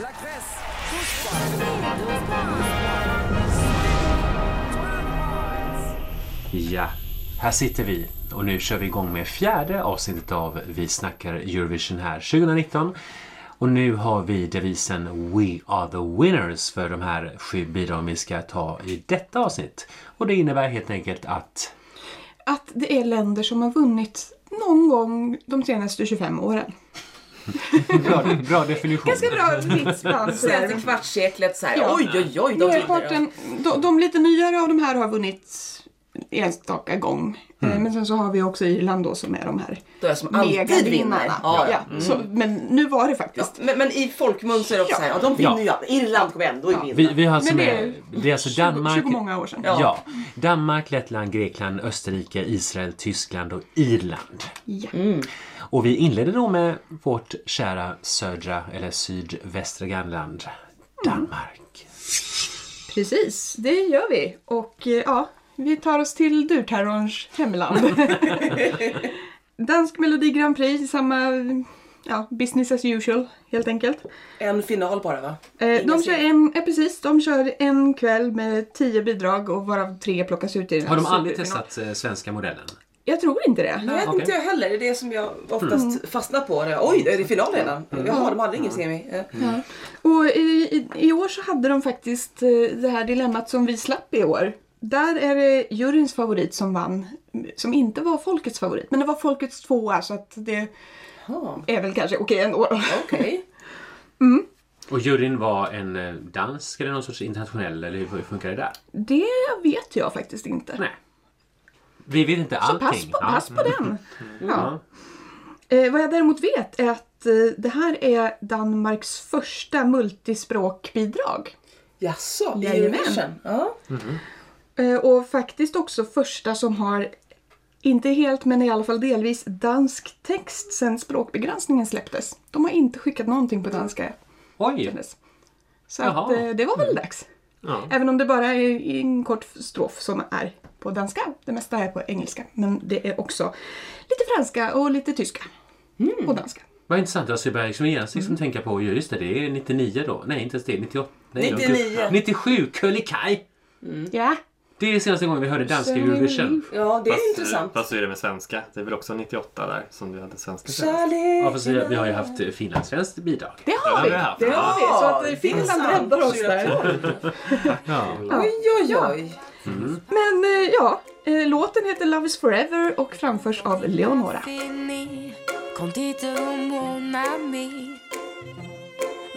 La Grèce, Ja, här sitter vi och nu kör vi igång med fjärde avsnittet av Vi snackar Eurovision här 2019. Och nu har vi devisen We are the winners för de här sju bidragen vi ska ta i detta avsnitt. Och det innebär helt enkelt att Att det är länder som har vunnit någon gång de senaste 25 åren. Bra, bra definition. Ganska bra vitsband. Senaste kvartsseklet så här. Ja. Oj, oj, oj. De vinner. Merparten, de, de lite nyare av de här har vunnit enstaka gång. Eh, Men sen så har vi också Irland då som är de här De är som alltid vinner. megavinnarna. Ja, Mm. ja. så, men nu var det Ja, faktiskt. men, men i folkmun så är det också Ja. så här. Ja, de vinner ju. Ja. Irland kommer ändå ja. vinna. Vi, vi har alltså Men det med, är det är alltså 20 Danmark, 20 många år sedan. Ja. Danmark, Lettland, Grekland, Österrike, Israel, Tyskland och Irland. Ja. Och vi inleder då med vårt kära södra eller sydvästra Mm. grannland Danmark. Precis, det gör vi. Och eh, ja, vi tar oss till Durterrorns hemland. Dansk Melodi Grand Prix, samma ja, business as usual helt enkelt. En final bara va? Eh, Inga de kör serier. en, eh, precis, de kör en kväll med tio bidrag och varav tre plockas ut i den Har de här aldrig Mm. superfinalen. testat eh, svenska modellen? Jag tror inte det. Jag vet okej. inte jag heller. Det är det som jag oftast fastnar på. Oj, är det final redan? Jaha, de hade ingen semi. Eh. Och i, i, i år så hade de faktiskt eh, det här dilemmat som vi slapp i år. Där är det juryns favorit som vann, som inte var folkets favorit. Men det var folkets tvåa så att det Jaha, är väl kanske okej ändå. då. Okej. Och juryn var en eh, dansk eller någon sorts internationell eller hur hur funkar det där? Det vet jag faktiskt inte. Nej. Vi vet inte Så allting. pass på, Ja. Mm. pass på den. Ja. Ja. Eh, vad jag däremot vet är att eh, det här är Danmarks första multispråkbidrag. Jaså, i Jajamän. Eurovision? Ja. Eh, och faktiskt också första som har, inte helt men i alla fall delvis, dansk text sedan språkbegränsningen släpptes. De har inte skickat någonting på danska Oj! hennes. Så Jaha. Mm. att, eh, det var väl dags. Ja. Även om det bara är en kort strof som är på danska. Det mesta är på engelska. Men det är också lite franska och lite tyska. Mm. Och danska. Vad intressant, alltså jag börjar liksom genast Mm. liksom tänka på, ju, just det, det är 99 då. Nej, inte ens det, 98. Nej, 99. 97, Kullikaj! Ja, Det är senaste gången vi hörde danska Sen är Eurovision. ja, det är Fast- intressant. Fast hur är det med svenska? Det är väl också 98 där som du hade svenska senast? Ja, Kärlek. fast vi, vi har ju haft eh, finlandssvenskt bidrag. det Ja, har det vi. har vi haft. Det har vi. Så att Ja, eh, Finland sant. räddar oss där. Ja. Oj, oj, oj. Men eh, ja, eh, låten heter Love is forever och framförs av Leonora. Fini, kom dit och mon ami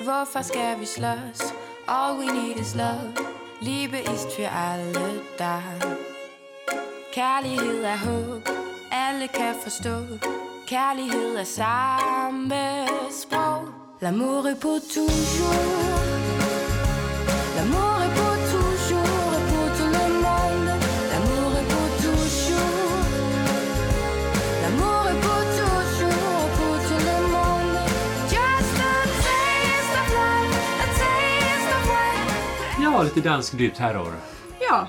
Varför ska vi slåss? All we need is love Liebe ist för alla da Kärlighet är hopp Alla kan förstå Kärlighet är samma språk L'amour est pour toujours L'amour est pour toujours et pour tout le monde L'amour est pour toujours L'amour est pour toujours, pour tout le monde. Just a taste of love, a taste of love. Ja, lite dansk dyrt terror. Ja,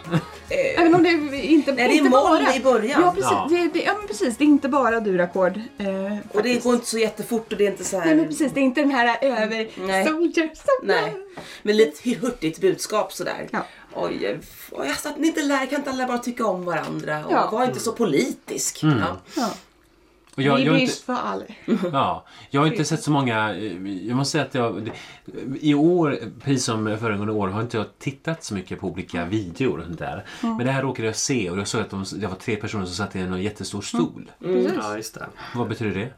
Eh, även om det inte, Nej, det är inte moll bara... i början. Ja, precis. Ja. Det, det, ja, men precis. Det är inte bara durackord. Eh, Och det faktiskt. går inte så jättefort och det är inte så här... Nej, men precis. Det är inte den här över... Nej. Soldier, soldier. Nej. Men lite hurtigt budskap sådär. Ja. Oj, oj, alltså att ni inte lär, kan inte alla bara tycka om varandra? Och Ja. Var inte så politisk. Mm. Ja. Ja. Och jag, Vi jag, har bryr inte, Mm. oss för alla. ja, jag har inte sett så många... eh, Jag måste säga att jag... det- I år, precis som föregående år, har inte jag tittat så mycket på olika videor och sånt där. Mm. Men det här råkade jag se och jag såg att de, det var tre personer som satt i en Mm. jättestor stol. Ja, just det. Vad betyder det?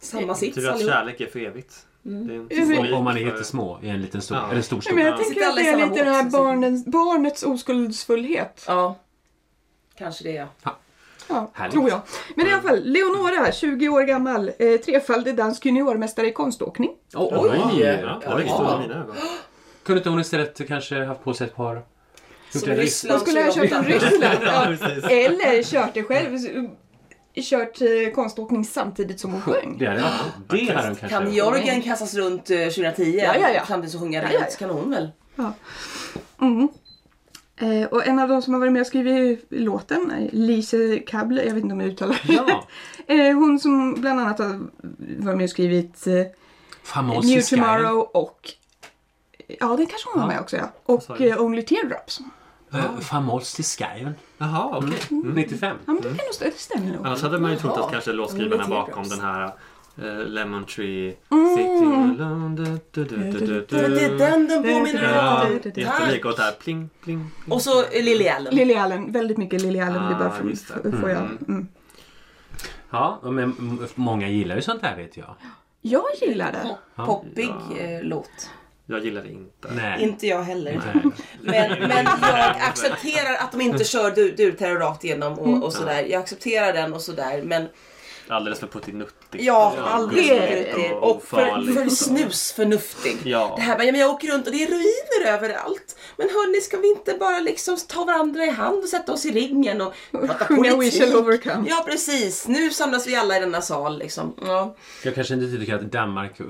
Samma sits Tur att allihop. kärlek är för evigt. Det är en Mm. symbolik Om man är för- jättesmå i en liten stol, Ja. eller stor Nej, stol. men jag Ja. tänker Sitter att alla i det är samma lite den här båt, så- barnens, barnets oskuldsfullhet. Ja, kanske det ja. Ja, Härligt. tror jag. Men i alla fall, Leonora, 20 år gammal, eh, trefaldig dansk juniormästare i konståkning. Oh, Oj! oj! Ja, det växte Ja. under mina ögon. Kunde inte hon istället kanske haft på sig ett par... Som en ryss- Då Ryssland skulle jag ha kört skulle från de- Ryssland. Ja, Ja. precis. Eller kört det själv. så- Kört eh, konståkning samtidigt som hon sjöng. Det hade varit- det hade hon kanske Kan gjort. Georgien kastas runt eh, 2010 Ja, ja, ja. samtidigt som sjunga Ja, runt ja, ja. så kan hon väl? Eh, och en av de som har varit med och skrivit låten, eh, Lise Kable, jag vet inte om jag uttalar det Ja. rätt. eh, Hon som bland annat har varit med och skrivit eh, Famos New i skyn. Tomorrow och Ja, det kanske hon var med också ja. sa Och du? eh, Only Teardrops. Eh, Framhålls till Skyven. Jaha, okej. Mm. 95. Ja, men det kan nog st- det stämmer nog. Annars hade man ju trott Jaha. att kanske låtskrivarna Only bakom Teardrops. den här eh, Lemon Tree Sitting alone du, du, du, du, du, Men det är du. den den påminner Ja, om. jättelik. Och där pling, pling, pling. Och så Lily Allen. Lily Allen, väldigt mycket Lily Allen blir bara Ah, från, just det. f- får jag. Mm. Mm. Ja, men m- många gillar ju sånt där vet jag. Jag gillar det. Poppig eh, låt. Jag gillar det inte. Nej. Inte jag heller. Nej. Men, men jag accepterar att de inte kör du, du terror rakt igenom och, och sådär. Jag accepterar den och sådär. Men Alldeles för puttinuttigt. ja, alldeles det är för det. riktig. Och Och för, ofarligt för och- snusförnuftig. Ja. Det här bara, ja, men jag åker runt och det är ruiner överallt. Men hörni, ska vi inte bara liksom ta varandra i hand och sätta oss i ringen och prata Sjunga We shall overcome. Ja, precis. Nu samlas vi alla i denna sal liksom. Ja. Jag kanske inte tycker att Danmark eh,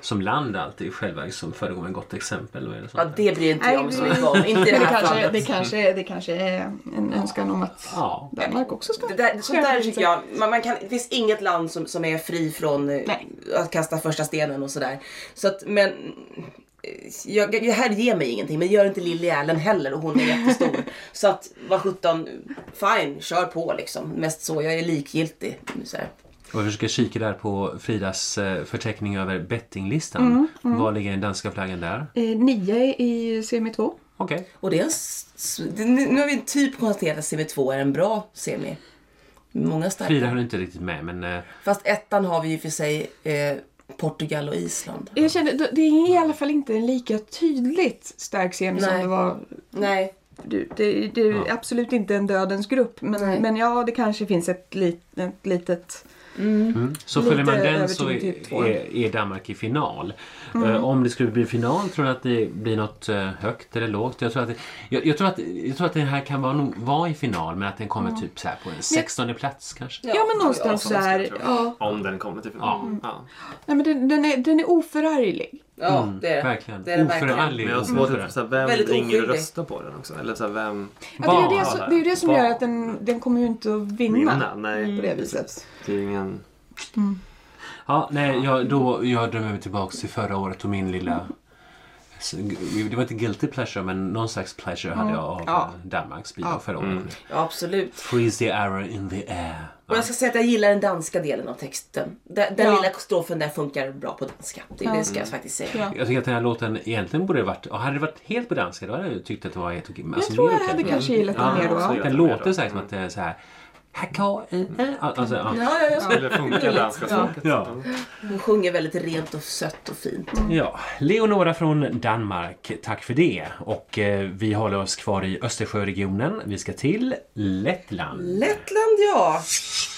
som land alltid själva som föregår med gott exempel. Vad är det Ja, sånt där? det bryr inte jag mig så mycket om. Inte i det Men det här kanske, fallet. Mm. det, kanske, det kanske är en önskan om att Ja. Danmark också ska... Det där, sånt där tycker jag, man, man kan, det finns inget land som, som är fri från eh, Nej. att kasta första stenen och sådär. Så att, men eh, jag, jag, här ger mig ingenting, men gör inte Lily Allen heller och hon är jättestor. så att vad sjutton, fine, kör på liksom. Mest så, jag är likgiltig. Så här. Och jag försöker kika där på Fridas eh, förteckning över bettinglistan. Var ligger den danska flaggan där? Eh, nio i semi 2. Okej. Och det är en, s- s- det, nu nu har vi typ konstaterat att semi 2 är en bra semi. Många Frida starka. höll inte riktigt med men eh, Fast ettan har vi ju för sig eh, Portugal och Island. Jag känner, det- det är i alla fall inte en lika tydligt stark semi som Nej. det var. Nej, Du, det, det är ju absolut inte en dödens grupp. Men, Nej. men ja, det kanske finns ett, lit, ett litet... Så Lite följer man över den så till är, typ två. Mm. är, är Danmark i final. Eh, om det skulle bli final, tror du att det blir något eh, högt eller lågt? Jag tror att, det, jag, jag tror att, jag tror att den här kan vara, nog- vara i final men att den kommer typ så här på en 16 plats kanske. Ja, men någonstans så här. Ja. Om den kommer till final. Ja. Nej, men den, den, är, den är oförarglig. Ja, det är det. Verkligen. Det är det verkligen. Oförarglig. Men jag har svårt att oförarglig. förstå vem Väldigt ringer och oskyldig. röstar på den också. Eller så här, vem Ja, det, är Bara. ju det, som, det är ju det som Bara. gör att den, den kommer ju inte att vinna. vinner? Nej. På det viset. Det är ju ingen... Ja, nej, jag, då, jag drömmer mig tillbaka till förra året och min lilla... Det var inte guilty pleasure men någon slags pleasure hade jag av Ja. eh, Danmarks bidrag förra året. Ja, absolut. Freeze the arrow in the air. Och jag ska säga att jag gillar den danska delen av texten. Den, den Ja. lilla strofen där funkar bra på danska. Det, det ska jag faktiskt säga. Ja. Jag tycker att den här låten egentligen borde varit... och Hade det varit helt på danska då hade jag tyckt att det var helt okej. men Jag alltså, tror det jag är okej. hade kanske gillat den Ja, mer absolut. då. Alltså, Den låter så här som att det är så här... Hacka, eh, Mm. eh, Alltså, ja. Ja, ja, ja. Skulle funka danska språket. Ja. Hon sjunger väldigt rent och sött och fint. Mm. ja. Leonora från Danmark, tack för det. Och eh, vi håller oss kvar i Östersjöregionen. Vi ska till Lettland. Lettland ja.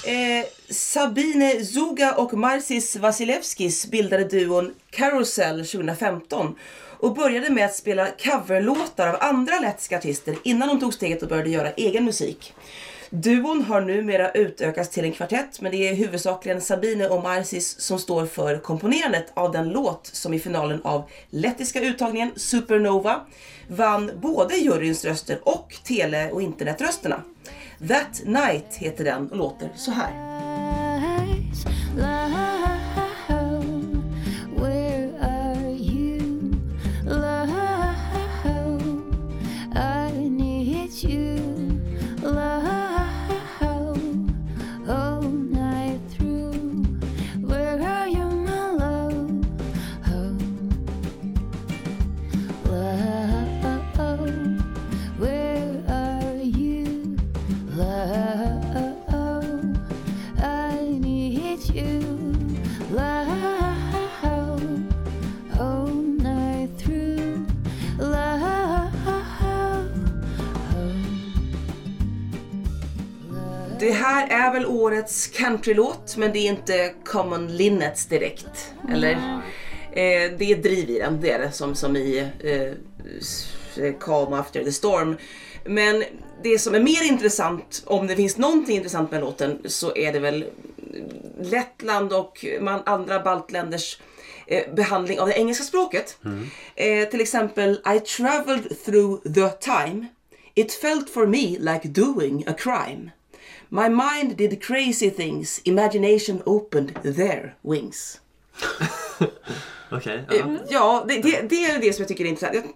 Eh, Sabine Zuga och Marcis Vasilevskis bildade duon Carousel 2015 och började med att spela coverlåtar av andra lettiska artister innan de tog steget och började göra egen musik. Duon har numera utökats till en kvartett men det är huvudsakligen Sabine och Marcis som står för komponerandet av den låt som i finalen av lettiska uttagningen Supernova vann både juryns röster och tele och internetrösterna. That Night heter den och låter så här. Lies, love, where are you? Love, I need you. Love, all night through. Where are you, my love? Love, where are you? Love, I need you. Love, all night through. Love, Det här är väl årets countrylåt men det är inte Common Linnets direkt. Eller? Eh, det är driv i den, det är det som, som i eh, s- Calm After the Storm. Men det som är mer intressant, om det finns någonting intressant med låten, så är det väl Lettland och man, andra baltländers eh, behandling av det engelska språket. Eh, till exempel I traveled through the time. It felt for me like doing a crime. My mind did crazy things. Imagination opened their wings. Okej. Eh, ja. Ja, det, det, det är det som jag tycker är intressant. Jag-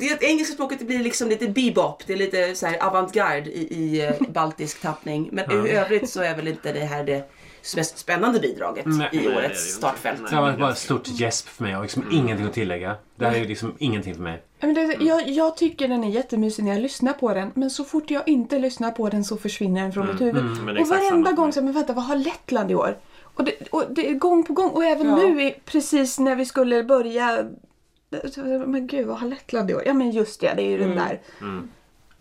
Det, det engelska språket det blir liksom lite bebop, det är lite så här avantgarde i, i eh, baltisk tappning. Men i övrigt så är väl inte det här det mest spännande bidraget Nej. i Nej, det är det årets ju inte. startfält. Nej. Det var bara ett stort gäsp för mig och liksom ingenting att tillägga. Det här är ju liksom ingenting för mig. Men det, jag, jag tycker den är jättemysig när jag lyssnar på den men så fort jag inte lyssnar på den så försvinner den från mitt huvud. men det är och exakt samma varenda för gång mig. så men vänta vad har Lettland i år? Och det, och det är gång på gång och även Ja. nu i- precis när vi skulle börja så- men gud vad har Lettland i år? Ja men just det, det är ju den där.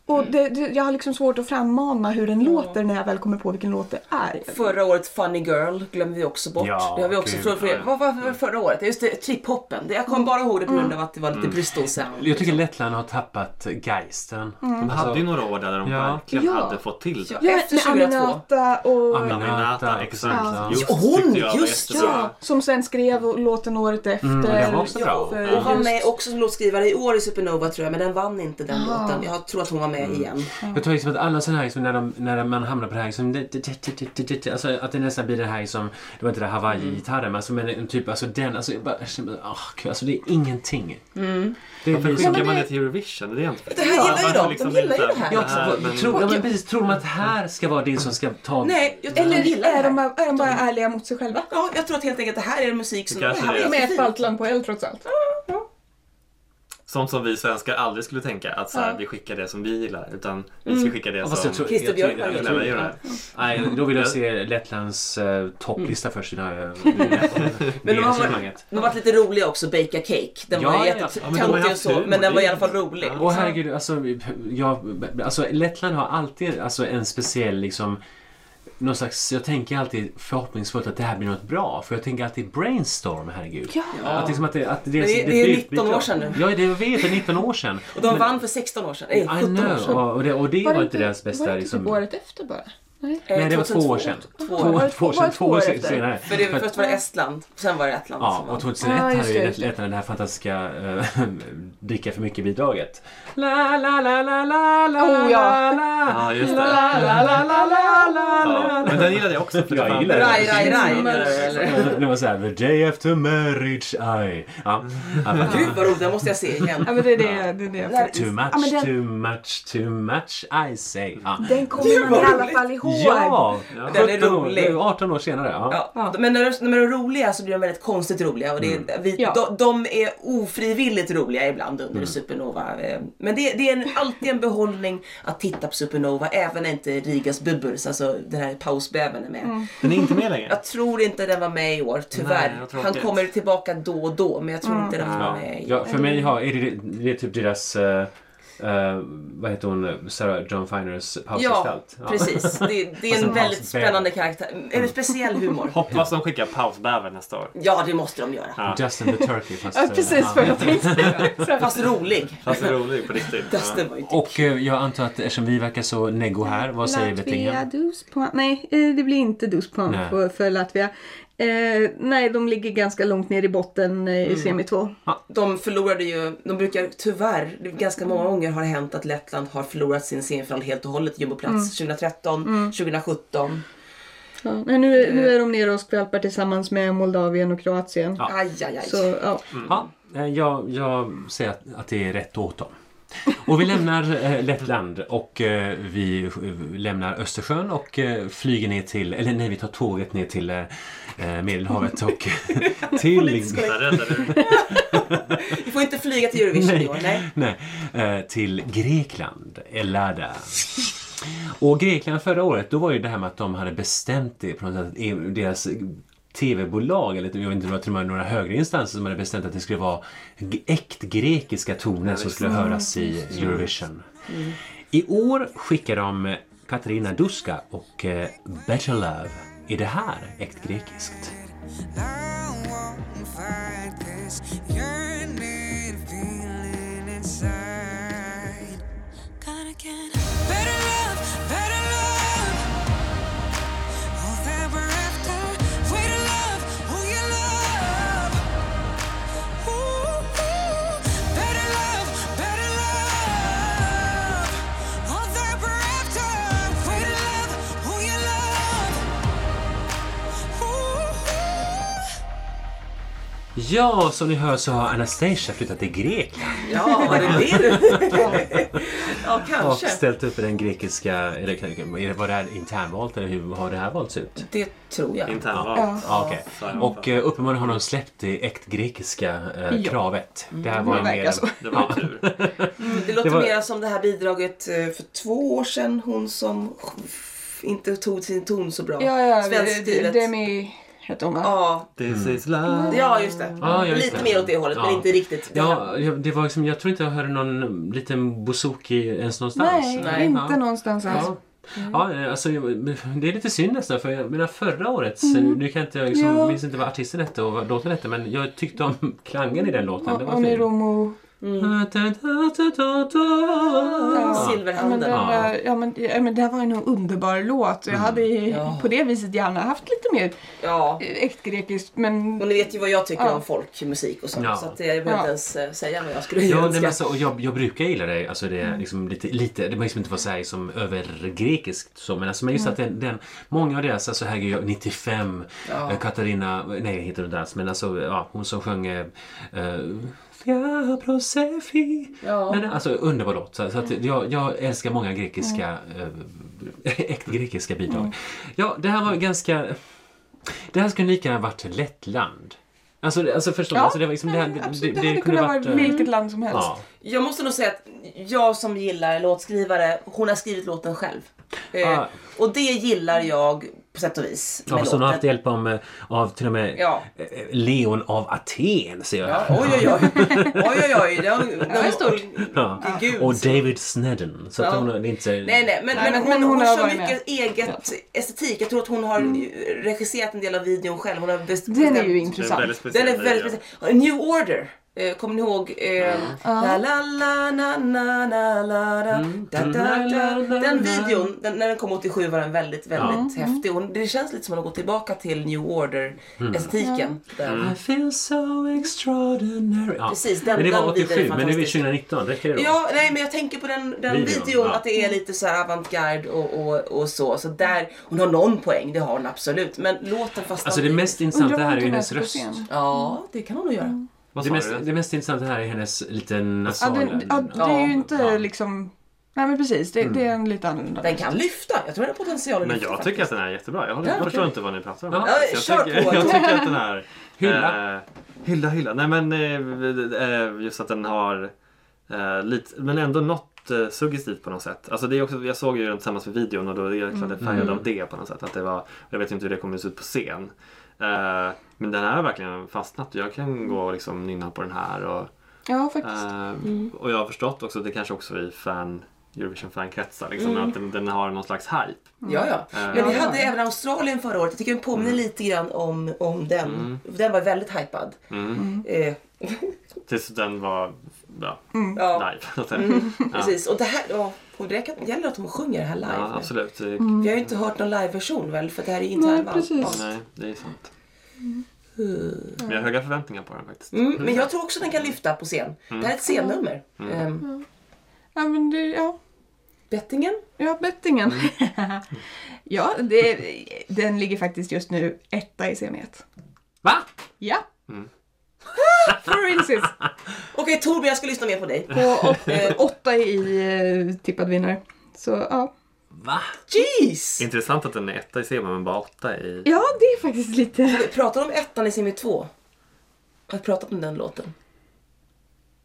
Och det, det, jag har liksom svårt att frammana hur den låter när jag väl kommer på vilken låt det är. Förra året Funny Girl glömmer vi också bort. Ja, det har vi också gud, från från- Vad var det förra året? Just det, trip-hoppen. Det- Jag Mm. kom bara ihåg det på grund av att det var lite bristolsound. Jag tycker Lettland har tappat geisten. Mm. Alltså- De hade ju några år där de Ja. verkligen Ja. hade fått till det. Ja, Efter med 2002. Aminata och... Aminata. Aminata, exakt. Ja. Jo, Ja, hon, tyckte jag var just jättebra. ja. Som sen skrev och låten året efter. Mm, den var också bra. För Och var just- med också som låtskrivare i år i Supernova tror jag, men den vann inte den Ah. låten. Jag tror att hon var med Mm. igen. Jag tror liksom att alla sådana här, liksom, när, de, när man hamnar på det här, liksom, det- det- det- det- det- det- det- alltså, att det nästan blir det här som, det var inte det här Hawaii-gitarren, men, alltså, men en typ, alltså den, alltså, jag bara, jag känner bara, ah, gud, alltså det är ingenting. Mm. Det är Varför liksom, skickar men man det- det till Eurovision? Det är inte Det här gillar ju Varför de. De liksom gillar ju inte det här. ja, det här, men- tror, ja, men precis, tror de att det här ska vara det som ska ta... Nej, jag tror att Eller de gillar är det de, här. är de bara ärliga mot sig själva? Ja, jag tror att helt enkelt det här är musik som... Det kanske det här var det är. jättefint. baltland på eld trots allt. Sånt som vi svenskar aldrig skulle tänka, att så här, vi skickar det som vi gillar. Utan vi ska skicka det Ja, som... fast jag tror, Christer jag tror, Björkman jag Eller tror, vad gör det? nej, då vill jag se Lettlands eh, topplista eh, först innan Mm. jag... det Men de har, varit, resonemanget. de har varit lite roliga också, Bakea Cake. Den Ja, var ja, ja. Ja, men de har jättetöntig ju och haft så, humor, men den det var är i alla fall ju- rolig. Ja. Åh herregud, alltså, jag, alltså Lettland har alltid alltså, en speciell liksom någon slags, jag tänker alltid förhoppningsfullt att det här blir något bra för jag tänker alltid brainstorm, herregud. Ja. Att, liksom att det, att det, det är byt- 19 byt- år sedan nu. Ja, det jag vet, det är 19 år sedan. Och de vann för 16 år sedan. Nej, I 17 år sedan. know, och- och det, och det var, inte deras var bästa det liksom. typ året efter bara? Nej. Eh, Nej, det var två 2002. år sedan. Eh, Två Två, år. år. två år sedan, två år efter. senare. För det, först var det Estland, sen var det Lettland. Ja, som vann. och 2001 Ja, just hade ju det, rätt just lätt det här fantastiska eh, dricka för mycket-bidraget. La, la, la, la, la, la, Oh, ja. la, la. Ja, just det. La, la, la, la, la, la, Ja, la. men den gillade jag också. För Jag fan- gillar Raj, raj, raj. Mm. eller- Det var såhär, the day after marriage, I... Ja. ja. Gud vad roligt, den måste jag se igen. Ja men det är det, det, är det jag Där- Too much, men den- too much, too much, I say. Ja. Den kommer man i alla fall ihåg. Ja! Den är 17 år, rolig. 18 år senare. Ja. Ja. Men när de, när de är roliga så blir de väldigt konstigt roliga och det, är- vi, Ja. de, de är ofrivilligt roliga ibland under Supernova. eh. Men det, det är en, alltid en behållning att titta på Supernova även när inte Rigas Bubbles, alltså den här pausbävern är med. Den är inte med längre. Jag tror inte den var med i år, Nej, tyvärr. vad tråkigt. Han kommer tillbaka då och då men jag tror inte den var Ja. med i Ja, för mig har, är det, det är typ deras, eh, eh, vad heter hon, Sarah John Finers Ja, pausgestalt. precis. Det, det är Alltså, en väldigt pausbäver. spännande karaktär. En speciell humor. Hoppas de skickar pausbävern nästa år. Ja, det måste de göra. Ja. Justin the Turkey. Fast, Ja, eh, precis vad jag tänkte säga. Fast rolig. Fast det är roligt på riktigt. Dustin var ju inte... Och eh, jag antar att eftersom vi verkar så neggo här, vad säger Latvia, bettingen? Duspan. Nej, eh, det blir inte Duspan Nej. för, för Latvia. Eh, nej, de ligger ganska långt ner i botten eh, i Mm. semi 2. De förlorade ju, de brukar tyvärr, det är ganska många gånger har det hänt att Lettland har förlorat sin semifinal helt och hållet, jumboplats 2013, 2017. Ja, nej, nu, är- nu är de nere och skvalpar tillsammans med Moldavien och Kroatien. Ja. Aj, aj, aj. Så, ja. Ja, eh, jag, jag säger att, att det är rätt åt dem. Och vi lämnar eh, Lettland och eh, vi eh, lämnar Östersjön och eh, flyger ner till, eller nej vi tar tåget ner till eh, Medelhavet och till Där räddade du Vi får inte flyga till Eurovision i år, nej. Nej, eh, till Grekland, Elada. Och Grekland förra året, då var ju det här med att de hade bestämt det på något sätt, att EU deras TV-bolag, eller jag vet inte, det var till och med några högre instanser som hade bestämt att det skulle vara g- äkt grekiska toner som skulle höras i Eurovision. I år skickar de Katarina Duska och eh, Better Love. Är det här äkt grekiskt? I won't fight this yearning feeling inside. Gotta get Better love, better love. All that we're after. Way to love, who you love. Ooh, ooh. Better love, better love. All that we're after. Way to love, who you love. Ooh, ooh. Ja, som ni hör så har Anastasia flyttat till Grekland Ja, var det det du... ja, och kanske. ställt upp i den grekiska... Eller, var det här internvalt eller hur har det här valts ut? Det tror jag. Internvalt. Ja, okej. Ja. Och eh, uppenbarligen har de släppt det äkt grekiska eh, Ja. Mm. kravet. Det här var det ju verkar mer... så. Det var ju tur. Det låter Det var- mer som det här bidraget eh, för två år sedan. Hon som f- inte tog sin ton så bra. Ja, ja. Svenskskrivet. Demi hette hon va? Ja, This is love. ja, just det. Ja, ja, just Lite det. mer åt det hållet, men Ja. inte riktigt. Det här- Ja, jag- det var liksom, jag tror inte jag hörde någon liten bouzouki ens någonstans. Nej, Ja. inte Mm. någonstans alls. Ja. Ja, eh, alltså, jag- det är lite synd nästan för jag menar förra årets, nu kan jag inte, jag liksom, Mm. Ja. minns inte vad artisten hette och vad låten hette men jag tyckte om klangen i den låten. Och det och Mm. var Oniromo. Ja. Ja men, Silverhanden. den, Ah, Ja. Mm. ja, men, ja, men det här var ju en underbar låt. Jag hade ju Ja. på det viset gärna haft lite mer Ja. eh, äkt grekiskt. Men Och ni vet ju vad jag tycker Ja. om folkmusik och sånt. Ja. Så att eh, jag behöver inte Ja. ens eh, säga vad jag skulle Ja, nej, önska. men alltså, och jag, jag brukar gilla det. Alltså, det, är liksom lite, lite, det behöver liksom inte vara så här, som övergrekiskt så, men, alltså, men just att den, den, många av deras, alltså herregud, jag- 95, Ja. eh, Katarina, nej heter hon inte alls, men alltså ja, hon som sjöng eh, eh, Fiabro Sefi. Ja. Men, alltså underbar låt. Så, så Mm. att, jag, jag älskar många grekiska, eh, äkta grekiska bidrag. Mm. Ja, det här var ganska, det här skulle lika gärna varit Lettland. Alltså, det- alltså förstår du? Ja, Alltså, det, var liksom, det, här- nej, absolut, det, hade kunde kunnat vara varit, eh, vilket land som helst. Ja. Jag måste nog säga att jag som gillar låtskrivare, hon har skrivit låten själv. Eh, Ah. Och det gillar jag på sätt och vis. Ja, så hon har haft hjälp om, av till och med Ja. eh, Leon av Aten ser jag Ja, här. oj, oj, oj. oj, oj, oj. Det har- det är stort. Ja. Gud. Och David Snedden. Så att Ja. hon har- det är inte... Nej, nej, men, Nej, men, men hon hon, hon, har kör varit mycket eget estetik. Jag tror att hon har Mm. regisserat en del av videon själv. Hon har best- Den är ju bestämt- Det är en intressant. väldigt speciell Den är väldigt video. speciell. New Order. Eh, Kommer ni ihåg? Eh, La la la na na na la la, da, da, da. Den videon, den, när den kom 87 var den väldigt, väldigt häftig. Och det känns lite som att man har gått tillbaka till New Order-estetiken. där. I feel so extraordinary. Ja. Precis, den- men det var den videon är 87, men nu är vi fantastisk. 2019. Räcker det då? Ja, nej men jag tänker på den, den Videon, videon, ja. att det är lite så här avantgarde och, och, och så. Så där, hon har någon poäng, det har hon absolut. Men låten fastnar Alltså det vid- mest Undrar intressanta vad här är ju hon tog med hennes sig på röst. scen. Ja, det kan hon nog göra. Vad Det sa mest, det du? mest intressanta här är hennes liten Ja, nasala... den, ja, det är ju inte Ja. Mm. liksom... Nej men precis, det, det är en lite annorlunda. Den kan lyfta. Jag tror den har potential att Men lyfta jag faktiskt. tycker att den här är jättebra. Jag, håller, jag förstår inte vad ni pratar om. Ja, Så kör jag, tycker, på. jag tycker att den här... Hylla. Eh, hylla, hylla. Nej men eh, eh, just att den har eh, lite, men ändå något eh, suggestivt på något sätt. Alltså det är också, jag såg ju den tillsammans med videon och då är jag klart jag färgad av det på något sätt. Att det var, jag vet inte hur det kommer att se ut på scen. Eh, men den här har verkligen fastnat. Jag kan gå och liksom nynna på den här. Och, Ja faktiskt. Eh, Mm. Och jag har förstått också, det kanske också i fan, Eurovision fankretsar, liksom, Mm. att den, den har någon slags hype. Ja, ja. Mm. Men vi hade även Australien förra året. Jag tycker den påminner lite grann om, om den. Mm. Den var väldigt hypad. Eh, Tills den var ja, Mm. ja, live. så att säga. precis. Och det här, ja, och det kan- gäller att hon sjunger det här live. Mm. Ja, absolut. Det, Mm. Vi har ju inte hört någon live-version väl? För det här är ju Nej, internt. precis. Nej, det är sant. Mm. Men jag har höga förväntningar på den faktiskt. Mm, men jag tror också den kan lyfta på scen. Det här är ett Mm. scennummer. Mm. Ehm, Ja men det, ja. bettingen? Ja, bettingen. Mm. ja, det, den ligger faktiskt just nu etta i semiet. Va? Ja. Mm. Four inches. Okej Torbjörn, jag ska lyssna mer på dig. Och åt, eh, åtta i eh, tippad vinnare. Så ja. Va? Jeez! Intressant att den är etta i semin men bara åtta i... Ja, det är faktiskt lite... Vi pratar om ettan i semi 2. Jag har pratat om den låten.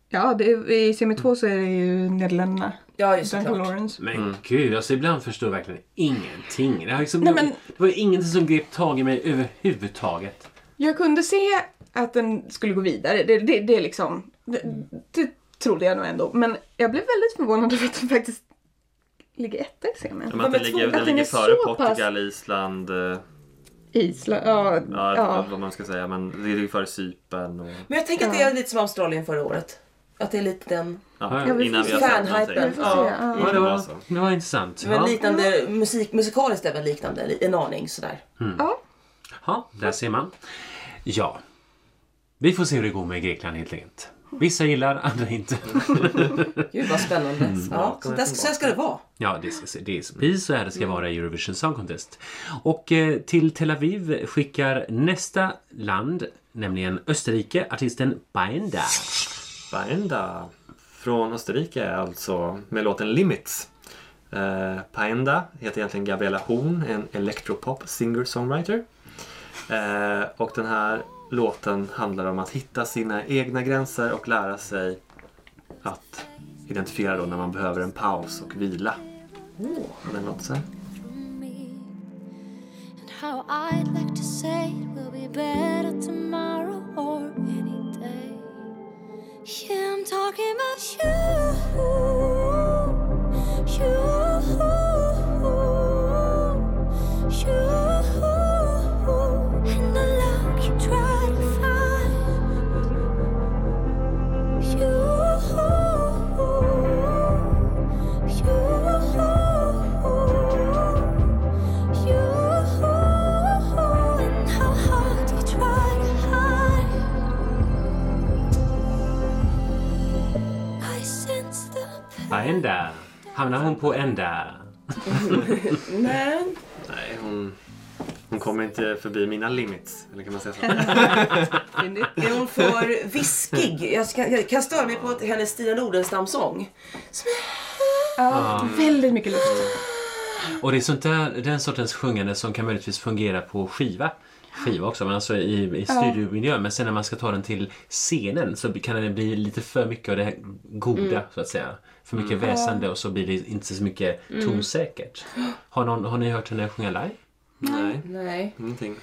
Ja, det, är- i semi två så är det ju Nederländerna. Ja, just Duncan såklart. Lawrence. Men Mm. gud, alltså ibland förstår jag verkligen ingenting. Det, här liksom, Nej, men- det var ingenting som grep tag i mig överhuvudtaget. Mm. Jag kunde se att den skulle gå vidare. Det, det, det är liksom... Det, det trodde jag nog ändå. Men jag blev väldigt förvånad över att den faktiskt ligger etta i Ja, semin. men att den men ligger, två- den att den ligger är före så pass- Portugal, Island, eh, Island, ja. ja, ja. vad man ska säga, men det ligger före Cypern och Men jag tänker att det är lite som Australien förra året. Att det är lite den... ja, Ja, vi innan får vi har se. sett Fanhypen, vi någonting. får Ja, se, ja. det Ja, kan det, vara var, så. det var intressant. Alltså. Men Ja. liknande, musik, musikaliskt är väl liknande, en aning sådär. ja. Ja, där ser man. Ja. Vi får se hur det går med Grekland helt enkelt. Vissa gillar, andra inte. Gud vad spännande. ja, så, där, så här ska det vara. Ja, det, är- det är precis så här det ska vara i Eurovision Song Contest. Och eh, till Tel Aviv skickar nästa land, nämligen Österrike, artisten Baenda. Paenda från Österrike alltså med låten Limits. Eh, Paenda heter egentligen Gabriella Horn, en electropop singer-songwriter. Eh, och den här låten handlar om att hitta sina egna gränser och lära sig att identifiera då när man behöver en paus och vila. Och Den låter så här. me. And how I'd like to say it will be better tomorrow or any day. Yeah, I'm talking about you. You. You. And the love you try to find. You. You. You and how hard you try to hide. I sense the pain. Baenda. Hamnar hon på ända? Men, Nej, hon, hon kommer inte förbi mina limits. Eller kan man säga så? är hon för viskig? Jag, ska, jag kan störa mig på att hennes Stina Nordenstam-sång. Ja, väldigt mycket luft. Och det är sånt där, den sortens sjungande som kan möjligtvis fungera på skiva. Skiva också, men alltså i, i studiomiljö. Men sen när man ska ta den till scenen så kan det bli lite för mycket av det här goda, så att säga. För mycket väsande och så blir det inte så mycket tonsäkert. Har, någon, har ni hört henne sjunga live? Nej, Nej, ingenting.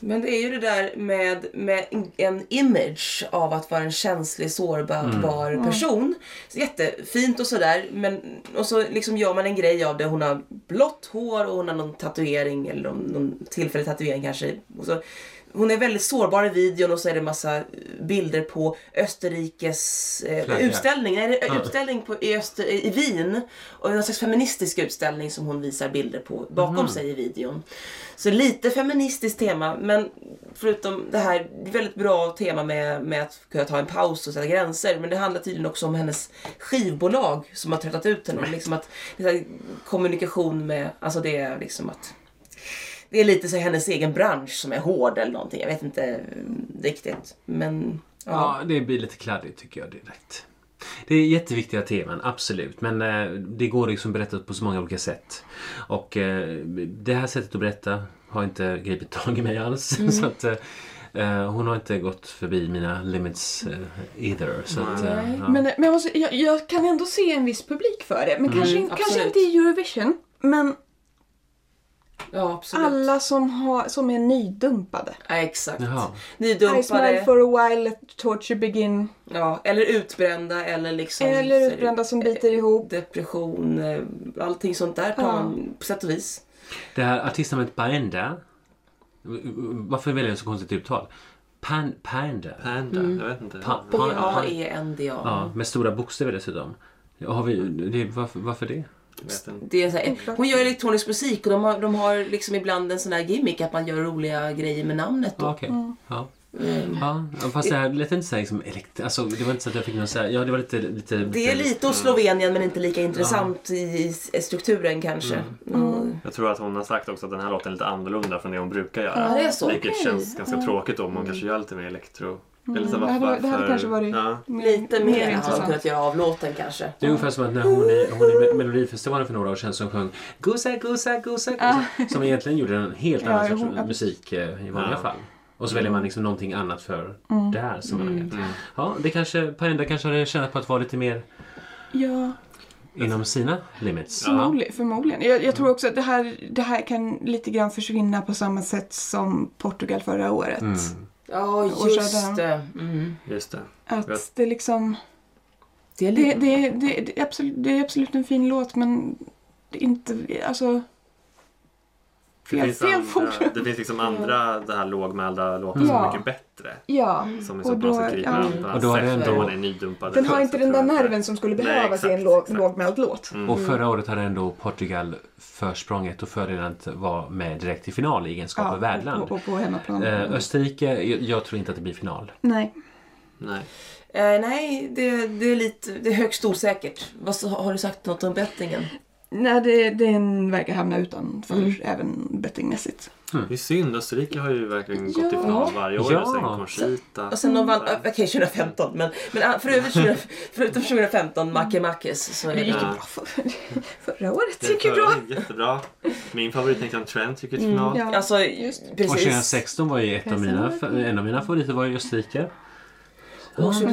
men det är ju det där med, med en image av att vara en känslig, sårbar person. Så jättefint och sådär, men och så liksom gör man en grej av det. Hon har blått hår och hon har någon tatuering eller någon, någon tillfällig tatuering kanske. Och så, hon är väldigt sårbar i videon och så är det massa bilder på Österrikes eh, Flagga. utställning. Nej, det är utställning på, i, Öster, i Wien. Och någon slags feministisk utställning som hon visar bilder på bakom sig i videon. Så lite feministiskt tema men förutom det här väldigt bra tema med, med att kunna ta en paus och sätta gränser. Men det handlar tydligen också om hennes skivbolag som har tröttat ut henne. Liksom att, det är kommunikation med, alltså det är liksom att det är lite så hennes egen bransch som är hård eller någonting. Jag vet inte mm, riktigt. Men ja. Ja, det blir lite kladdigt tycker jag direkt. Det är jätteviktiga teman, absolut. Men eh, det går liksom berättat på så många olika sätt. Och eh, det här sättet att berätta har inte gripit tag i mig alls. Så att, eh, hon har inte gått förbi mina limits eh, either. Så att, eh, ja. Men, men jag, måste, jag, jag kan ändå se en viss publik för det. Men kanske, in- kanske absolut. inte i Eurovision. Men ja, absolut. alla som, har, som är nydumpade. Ja, exakt. Jaha. I smile Nydumpade. for a while, let torture begin. Ja, eller utbrända eller liksom Eller utbrända som biter ihop. depression. eh, Allting sånt där tar Ja. man på sätt och vis. Det här artistnamnet Paenda. Varför väljer jag så konstigt uttal? Pan, Paenda. Panda, jag vet inte. Pa- pa- E B-A-E-N-D-A. ja, med stora bokstäver dessutom. Har vi, det, varför, varför det? Jag vet inte. Det är så här, eh, hon gör elektronisk musik och de har, de har liksom ibland en sån här gimmick att man gör roliga grejer med namnet. Då. Ja, Okej. Ja. Mm. Ja, fast det här lät inte så här liksom elekt... Alltså det var inte så att jag fick någon så här... Ja, det var lite... lite Det är lite åt Slovenien men inte lika intressant i, i strukturen kanske. Mm. Jag tror att hon har sagt också att den här låten är lite annorlunda från det hon brukar göra. Ja, det är så. Vilket känns ganska tråkigt om hon kanske gör lite mer elektro. Eller så Mm. det hade- varför- det hade kanske varit- Ja. Lite mer hade man intressant. kunnat göra av låten kanske. Det är ungefär som att när hon i, hon i Me- Melodifestivalen för några år sedan som sjöng Gusa, gusa, gusa, gusa. Ah. Som egentligen gjorde en helt annan Ja, sorts hon- musik eh, i vanliga Ja. fall. Och så väljer man liksom någonting annat för Mm. det här Mm. sammanhanget. Ja, det kanske... Parenda kanske hade tjänat på att vara lite mer Ja, inom sina limits. förmodligen. förmodligen. Jag, jag tror också att det här, det här kan lite grann försvinna på samma sätt som Portugal förra året. Mm. Ja, Och just Shazam. det. Mm. Just det. Att det liksom... Det är Det, lite... det, det, det, är absolut, det är absolut en fin låt men det är inte... Alltså... Det Fel, finns, fel andra, forum. det finns liksom andra det här lågmälda låtar som är Ja. mycket bättre. Ja. Som är Och så på något då- sätt griper ja. an på Och då hans har sätt. det Ändå... ändå- Man är nydumpad. Den har Så inte tror den där jag inte- nerven som skulle Nej, behövas i en exakt, låg, exakt. lågmäld låt. Och förra året hade ändå Portugal försprånget och fördelen att vara med direkt i final i egenskap av värdland. och, och på hemmaplan. Eh, Österrike, jag, jag tror inte att det blir final. Nej. Nej. Eh, nej, det, det, är lite, det är högst osäkert. Vad, så- har du sagt något om bettingen? Nej, det, den verkar hamna utanför även bettingmässigt. Det är synd, Österrike har ju verkligen Ja. Alltså, gått i final varje år Ja. sen Conchita. Och sen de vann, eh, okej 2015, men, men ah, för övrigt 20, förutom 2015, Macke Mackes. Så är Mm. Det gick ju det, Ja. bra för, förra året. Det Det gick ju bra. var Jättebra. Min favorit Nathan Trent gick ju till final. Mm, Ja. alltså, Just. Och precis. 2016 var ju ett av mina, en av mina favoriter var ju Österrike. Mm. Och så-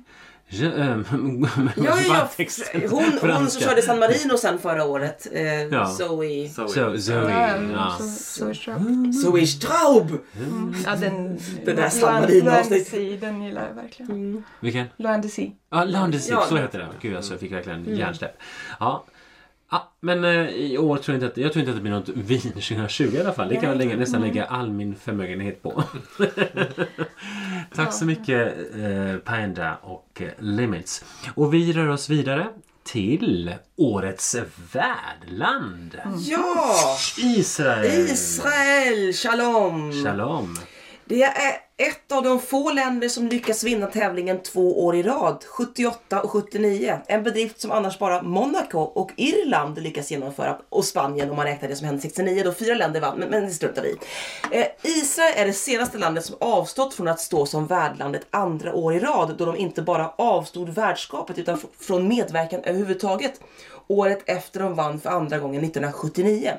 Ja, ehm, Mm. Ja, ja, bara ja. texten Hon, på hon som danska. körde San Marino sen förra året, eh, Ja. Zoe... Så, Så, Zoe. Ja, Ja. Mm. så, så, så. Zoe Straub! Ja, den, Det där San Marino-avsnittet. Landesi, den gillar jag verkligen. Vilken? Landesi. Ja, Landesik, Ja. så heter den. Gud, alltså, jag fick verkligen hjärnsläpp. Ja. Ja, men eh, i år tror jag, inte att, jag tror inte att det blir något vin 2020 i alla fall. Det kan jag lägga, nästan lägga all min förmögenhet på. Tack så mycket eh, Panda och eh, Limits. Och vi rör oss vidare till årets värdland. Ja! Israel. Israel, shalom! Shalom. Det är ett av de få länder som lyckas vinna tävlingen två år i rad, 78 och 79. En bedrift som annars bara Monaco och Irland lyckas genomföra och Spanien om man räknar det som hände 69 då fyra länder vann, men, men det struntar vi i. eh, Israel är det senaste landet som avstått från att stå som värdland ett andra år i rad då de inte bara avstod värdskapet utan f- från medverkan överhuvudtaget året efter de vann för andra gången 1979.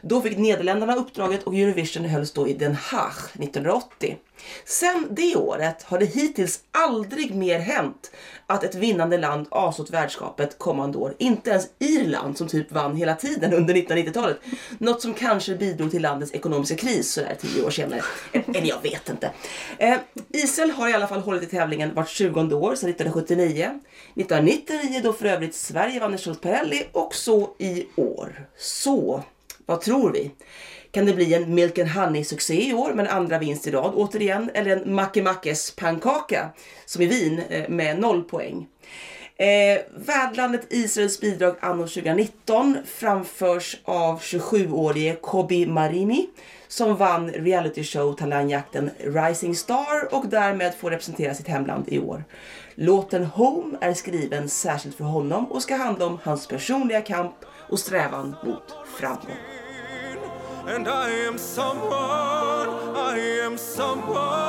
Då fick Nederländerna uppdraget och Eurovision hölls då i Den Haag 1980. Sen det året har det hittills aldrig mer hänt att ett vinnande land avstått värdskapet kommande år. Inte ens Irland som typ vann hela tiden under 1990-talet. Något som kanske bidrog till landets ekonomiska kris sådär tio år senare. Eller jag vet inte. Eh, Israel har i alla fall hållit i tävlingen vart 20 år sedan 1979. 1999 då för övrigt Sverige vann i Schultz-Perrelli och så i år. Så, vad tror vi? Kan det bli en Milk and Honey-succé i år med en andra vinst i rad återigen? Eller en Macke Mackes pannkaka som i Wien eh, med noll poäng? Eh, värdlandet Israels bidrag anno 2019 framförs av 27-årige Kobi Marini som vann reality show talangjakten Rising Star och därmed får representera sitt hemland i år. Låten Home är skriven särskilt för honom och ska handla om hans personliga kamp och strävan mot framgång. And I am someone, I am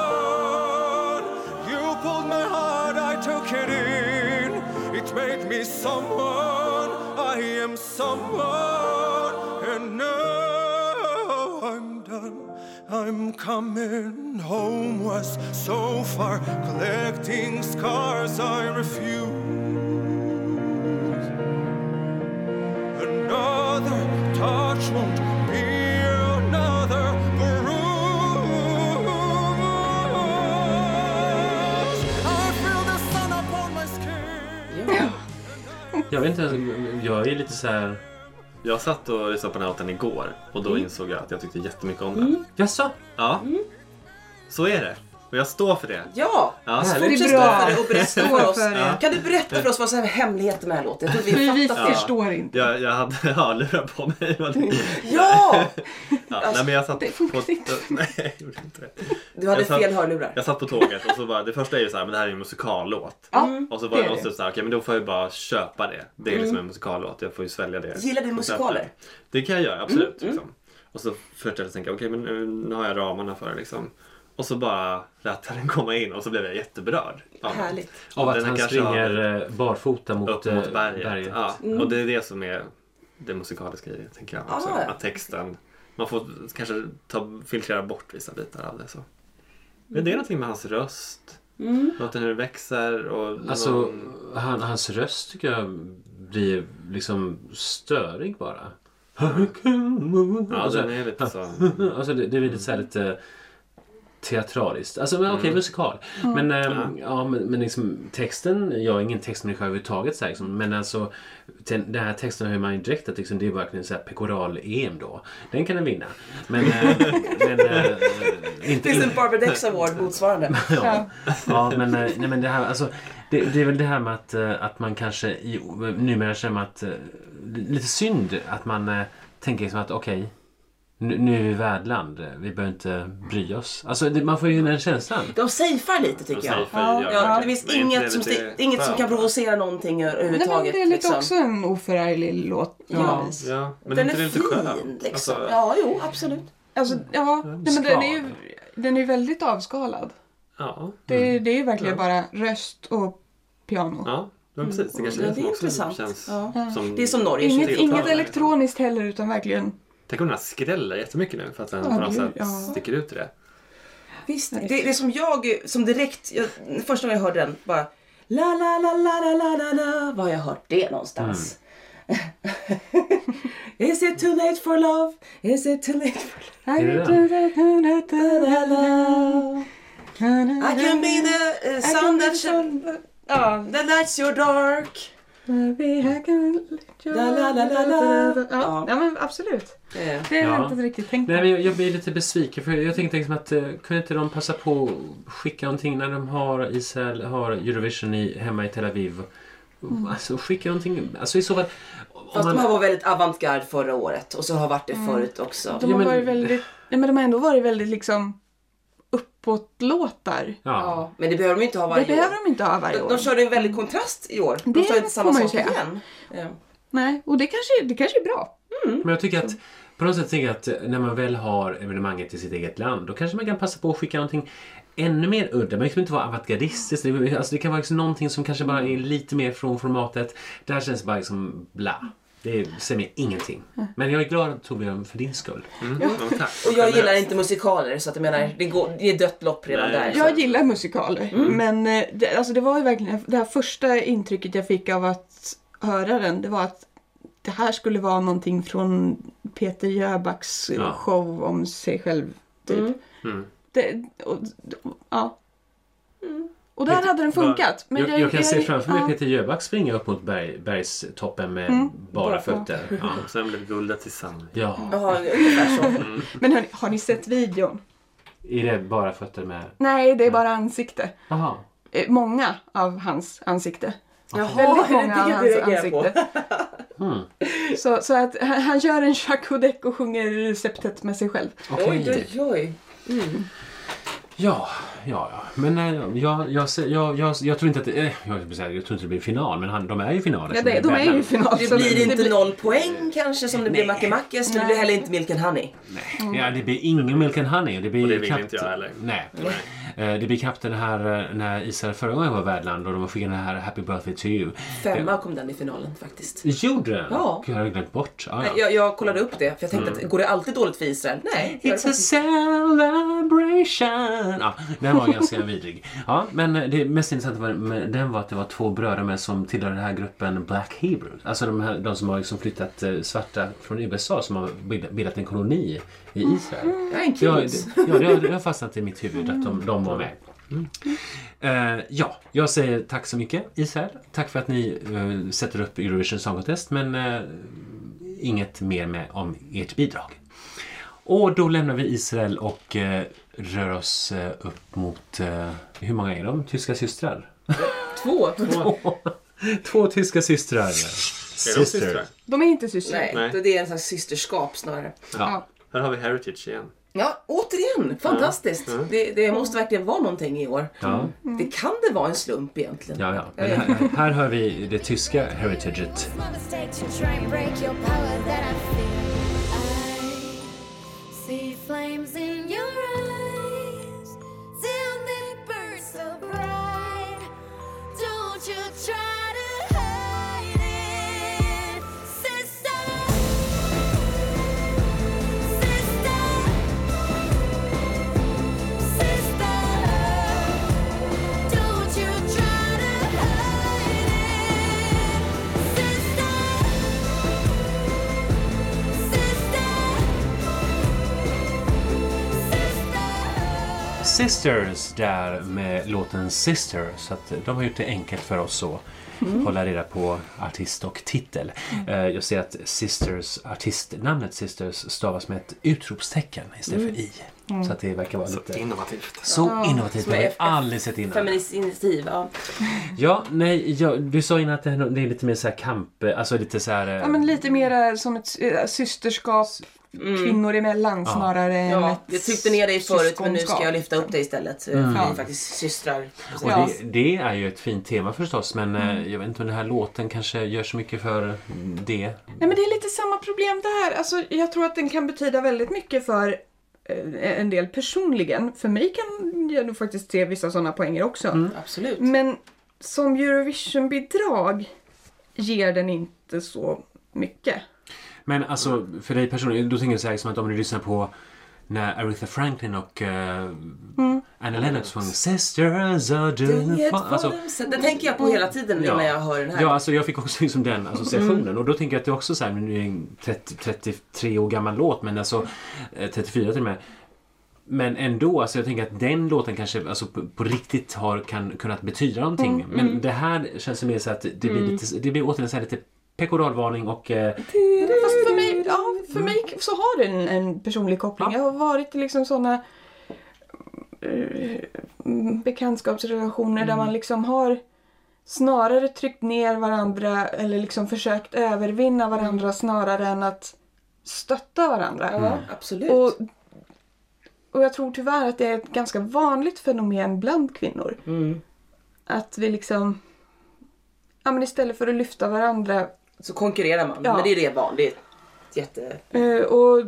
someone. You pulled my heart, I took it in. It made me someone, I am someone. And now I'm done, I'm coming home. Was so far collecting scars, I refuse. Another touch won't be another bruise. I feel the sun upon my skin. Jag vet inte, jag är lite så här... Jag satt och lyssnade på den här låten igår och då insåg jag att jag tyckte jättemycket om den. Jaså? Ja. Så är det. Och jag står för det. Ja! Ja, Det härligt. är Fortsätt bra. stå för det och berätta för oss. för det. Kan du berätta för oss vad som är hemligheten med den här låten? Jag tror Vi, vi vi fattar. förstår inte. Jag, jag hade hörlurar på mig. vad det- Ja! Ja, nej, men jag satt det funkar på, inte. Nej, jag gjorde inte det. Du hade Jag satt- fel hörlurar. Jag satt på tåget och så bara, det första är ju så här, men det här är ju en musikallåt. Mm. Ja, Och så var det är någon det. som sa, okej men då får jag ju bara köpa det. Det är liksom en musikallåt, jag får ju svälja det. Gillar du musikaler? Mm, Det kan jag göra, absolut. Liksom. Och så fortsatte jag tänka, okej men nu, nu har jag ramarna för det liksom. Och så bara lät jag den komma in och så blev jag jätteberörd. Ja. Härligt. Av att Den han kanske har- springer eh, barfota mot, Upp mot eh, berget. Ja. Och det är det som är det musikaliska i det, tänker jag. Också. Mm. Ah, ja. Att texten, man får kanske ta, filtrera bort vissa bitar av det. Så. Men det är någonting med hans röst. Mm. Låten hur den växer och... Alltså, någon- han, hans röst tycker jag blir liksom störig bara. ja, alltså, den är lite så... alltså, det, det blir lite så här lite teatraliskt. Alltså, men okej, Mm. musikal. Men, ehm, ja, men, men liksom texten, jag är ingen textmänniska överhuvudtaget. Så här, liksom, men alltså, den, den här texten hör man ju direkt att liksom, det är verkligen så här pekoral-EM då. Den kan den vinna. Men, eh, men eh, inte, Finns det en Barbara Dex Award motsvarande? Ja. ja, men, eh, nej, men det, här, alltså, det, det är väl det här med att, eh, att man kanske i, numera känner man att eh, lite synd att man eh, tänker liksom att okej, Nu, nu är vi värdland, eh, vi behöver inte bry oss. Alltså, det, man får ju den känslan. De safear lite tycker jag. Ja, Ja, det finns inget som, det, inget som kan provocera någonting Nej, men överhuvudtaget. det är lite liksom. också en oförarglig låt. på Ja. något vis. Ja, men Den inte är lite fin skön. liksom. Alltså, ja. Ja, jo, absolut. Alltså, ja, nej, men den är ju den är ju väldigt avskalad. Ja, Det, är- Mm. det är ju verkligen bara röst och piano. ja men precis. Det kanske Mm. Ja, det är det är som också intressant. känns Ja. som... Det är som Norge. Inget, det är inget otroligt. elektroniskt heller utan verkligen. Tänk om den här skräller jättemycket nu för att den Ja, på något gud, sätt ja. sticker ut i det. Visst, det, det är som jag, som direkt, jag, första gången jag hörde den bara La la la la la la la la Var har jag hört det någonstans? Mm. Is it too late for love? Is it too late for love? I can be the uh, sun that shines Ja. The night's your dark La, la, la, la, la. Ja, ja, men absolut. Eh, Det har Ja. jag inte riktigt tänkt på. Nej, men jag, jag blir lite besviken för jag tänkte liksom att eh, kunde inte de passa på att skicka någonting när de har Israel har Eurovision i, hemma i Tel Aviv? Alltså skicka någonting, alltså i så fall... om Fast man- de här var väldigt avantgarde förra året och så har varit det förut också. Mm. De har Ja, men- varit väldigt, nej, men de har ändå varit väldigt liksom uppåtlåtar. ja. Ja, men det behöver de ju inte ha Det varje år. behöver de inte ha varje De, år. de körde en väldig kontrast i år. De Det körde inte samma får man ju sak säga. igen. Eh, Nej, och det kanske, det kanske är bra. Men jag tycker att på något sätt tänker jag att eh, när man väl har evenemanget i sitt eget land då kanske man kan passa på att skicka någonting ännu mer udda. Man behöver inte vara avantgardistisk. Det, alltså det kan vara liksom någonting som kanske bara är lite mer från formatet. Det här känns bara liksom bla. Det säger mig ingenting. Men jag är glad Torbjörn för din skull. Mm. Ja. men tack. Och jag gillar inte musikaler så att jag menar, det, går, det är dött lopp redan Nej. där. Ja. Jag gillar musikaler, men eh, det, alltså det var ju verkligen det här första intrycket jag fick av att höra den. Det var att det här skulle vara någonting från Peter Jöbacks eh, Ja. show om sig själv. Typ. Mm. Det, och, och- ja. Och där Peter- hade den funkat. Men jag, jag, kan se framför mig ja. Peter Jöback springa upp mot berg, bergstoppen med bara Bara. fötter. Ja. Och sen blev guldet tillsammans. ja, Jaha, ungefär så. Men hörni, har ni sett videon? är det bara fötter med... Nej, det är bara ansikte. Jaha. Eh, Många av hans ansikte. Jaha, Väldigt det är många av det hans du reagerar på. ansikte. Mm. Så, så att han han gör en Jacques och sjunger receptet med sig själv. Okej. Oj, oj, oj. Ja, ja, ja. Men eh, jag, jag, ser- jag, jag, jag tror inte att det, eh, jag, vill säga, jag tror inte det blir final, men han, de är ju finalen. Ja, det, de är ju i final. Det så blir inte noll poäng kanske som det blir Macke Mackes, men det blir Nej. heller inte Milken Honey. Ja, det blir ingen Milk and Honey. Det blir Och det vill knappt, inte jag heller. Nej. Eh, Det blir knappt den här eh, när Israel förra gången var värdland och de skickade den här Happy birthday to you. Femma kom den i finalen faktiskt. Gjorde den? Ja. Gud, jag har glömt bort. Ah, Ja, ja. Jag, jag kollade upp det, för jag tänkte att går det alltid dåligt för Israel? Nej. det gör det It's a celebration! Ja, den var ganska vidrig. Ja, men det mest intressanta var, med den var att det var två bröder med som tillhörde den här gruppen Black Hebrews. Alltså de, här, de som har liksom flyttat eh, svarta från USA som har bildat- bildat en koloni i Israel. Jag är en Ja, kid. det, ja, det har- det har fastnat i mitt huvud att de, de var med. Mm. Eh, ja, jag säger tack så mycket Israel. Tack för att ni eh, sätter upp Eurovision Song Contest men eh, inget mer med om ert bidrag. Och då lämnar vi Israel och eh, rör oss eh, upp mot, eh, hur många är de? Tyska systrar? Två. Två tyska systrar. Är de systrar? De är inte systrar. Nej, Nej. det är en slags systerskap snarare. Ja. Här har vi Heritage igen. Ja, återigen, fantastiskt. Det, det måste verkligen vara någonting i år. Ja, Det kan det vara en slump egentligen. ja, ja. Men här, här hör vi det tyska heritaget. My mistake to try and break your power that I feel. I see flames in your eyes. Till they burn so bright. Don't you try to hide it, sister. Sister. Sister. Don't you try to hide it. Sister, sister, sister. Sisters där med låten Sister. Så att de har gjort det enkelt för oss att hålla reda på artist och titel. Eh, Jag ser att Sisters, artistnamnet Sisters stavas med ett utropstecken istället för i. Så att det verkar vara Så lite... innovativt. Så innovativt, som det är har jag F- aldrig sett innan. Feministiskt initiativ, ja. Ja, nej, jag, du sa innan att det här- det är lite mer så här kamp, eh, alltså lite så här... eh, Ja, men lite mer som ett eh, systerskap kvinnor emellan snarare än Mm. Ja, ett jag tryckte ner dig förut men nu ska jag syskonskap. lyfta upp dig istället. Mm. För vi är faktiskt systrar. Och Ja. det, det är ju ett fint tema förstås men eh, jag vet inte om den här låten kanske gör så mycket för det. Nej men det är lite samma problem där. Alltså, jag tror att den kan betyda väldigt mycket för eh, en del personligen. För mig kan jag nog faktiskt se vissa sådana poänger också. Absolut. Men som Eurovision-bidrag ger den inte så mycket. Men alltså för dig personligen, då tänker jag så här som att om du lyssnar på när Aretha Franklin och eh, Mm. Anna Lennox sjöng Sisters are doing fine. Alltså, det tänker jag på hela tiden Ja. när jag hör den här. Mm. Ja, alltså jag fick också liksom den associationen. Och då tänker jag att det är också så här, nu är det en 30, 33 år gammal låt, men alltså eh, 34 till och med. Men ändå, alltså jag tänker att den låten kanske alltså, på, på riktigt har kan, kunnat betyda någonting. Mm, Men det här känns ju mer så att det blir, lite, det blir återigen så här lite pekoralvarning och eh, Fast för mig, ja, för mig så har den en personlig koppling. Jag har varit i liksom sådana eh, bekantskapsrelationer där man liksom har snarare tryckt ner varandra eller liksom försökt övervinna varandra snarare än att stötta varandra. Mm. Ja, absolut. Och, och jag tror tyvärr att det är ett ganska vanligt fenomen bland kvinnor. Mm. Att vi liksom, ja men istället för att lyfta varandra så konkurrerar man. Ja. Men det är det vanligt. Jätte... Eh, och...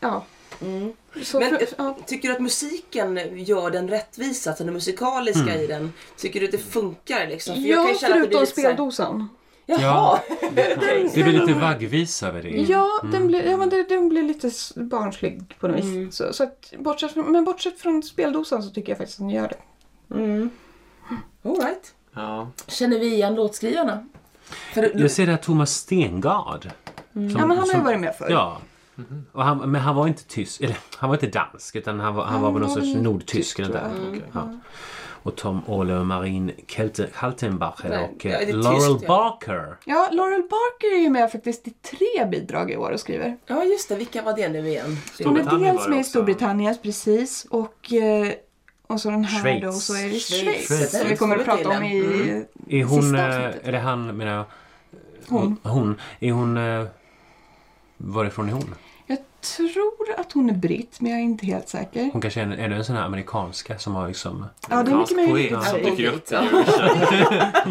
Ja. Så Mm. Men för, ja. eh, tycker du att musiken gör den rättvisa? Alltså det musikaliska Mm. i den. Tycker du att det funkar liksom? För Ja, ju känna att det blir förutom lite så här- speldosan. Jaha! det blir lite vaggvis över det. Ja, den blir, ja men det, den blir lite s- barnslig på något vis. Mm. Så, så att, bortsett, från- men bortsett från speldosan så tycker jag faktiskt att den gör det. All right. Ja. Känner vi igen låtskrivarna? För, Jag ser det här Thomas Stengard. som- Ja, men han har ju som- varit med förr. Mm, Ja. Och han, men han var inte tysk, eller han var inte dansk utan han var, han var väl någon sorts nordtysk eller där. Ja. Och Tom Ole och Marin Kelte, Kaltenbacher Nej, och ja, det är eh, tyskt, Laurel ja. Barker. Ja, Laurel Barker är ju med faktiskt i tre bidrag i år och skriver. ja just det, vilka var det nu igen? Mm. Hon är Storbritannien var dels det med i också. Storbritanniens precis och, eh, och så den här Schweiz. då och så är det Schweiz. Schweiz. Mm. Som vi kommer att prata om i... Är hon, Sista eh, avsnittet. är det han menar jag? Hon. Hon. Är hon, eh, varifrån är hon? Jag tror att hon är britt men jag är inte helt säker. Hon kanske är en- ännu en sån här amerikanska som har liksom... Ja, det är mycket möjligt. poet som Ja. dyker upp. Ja.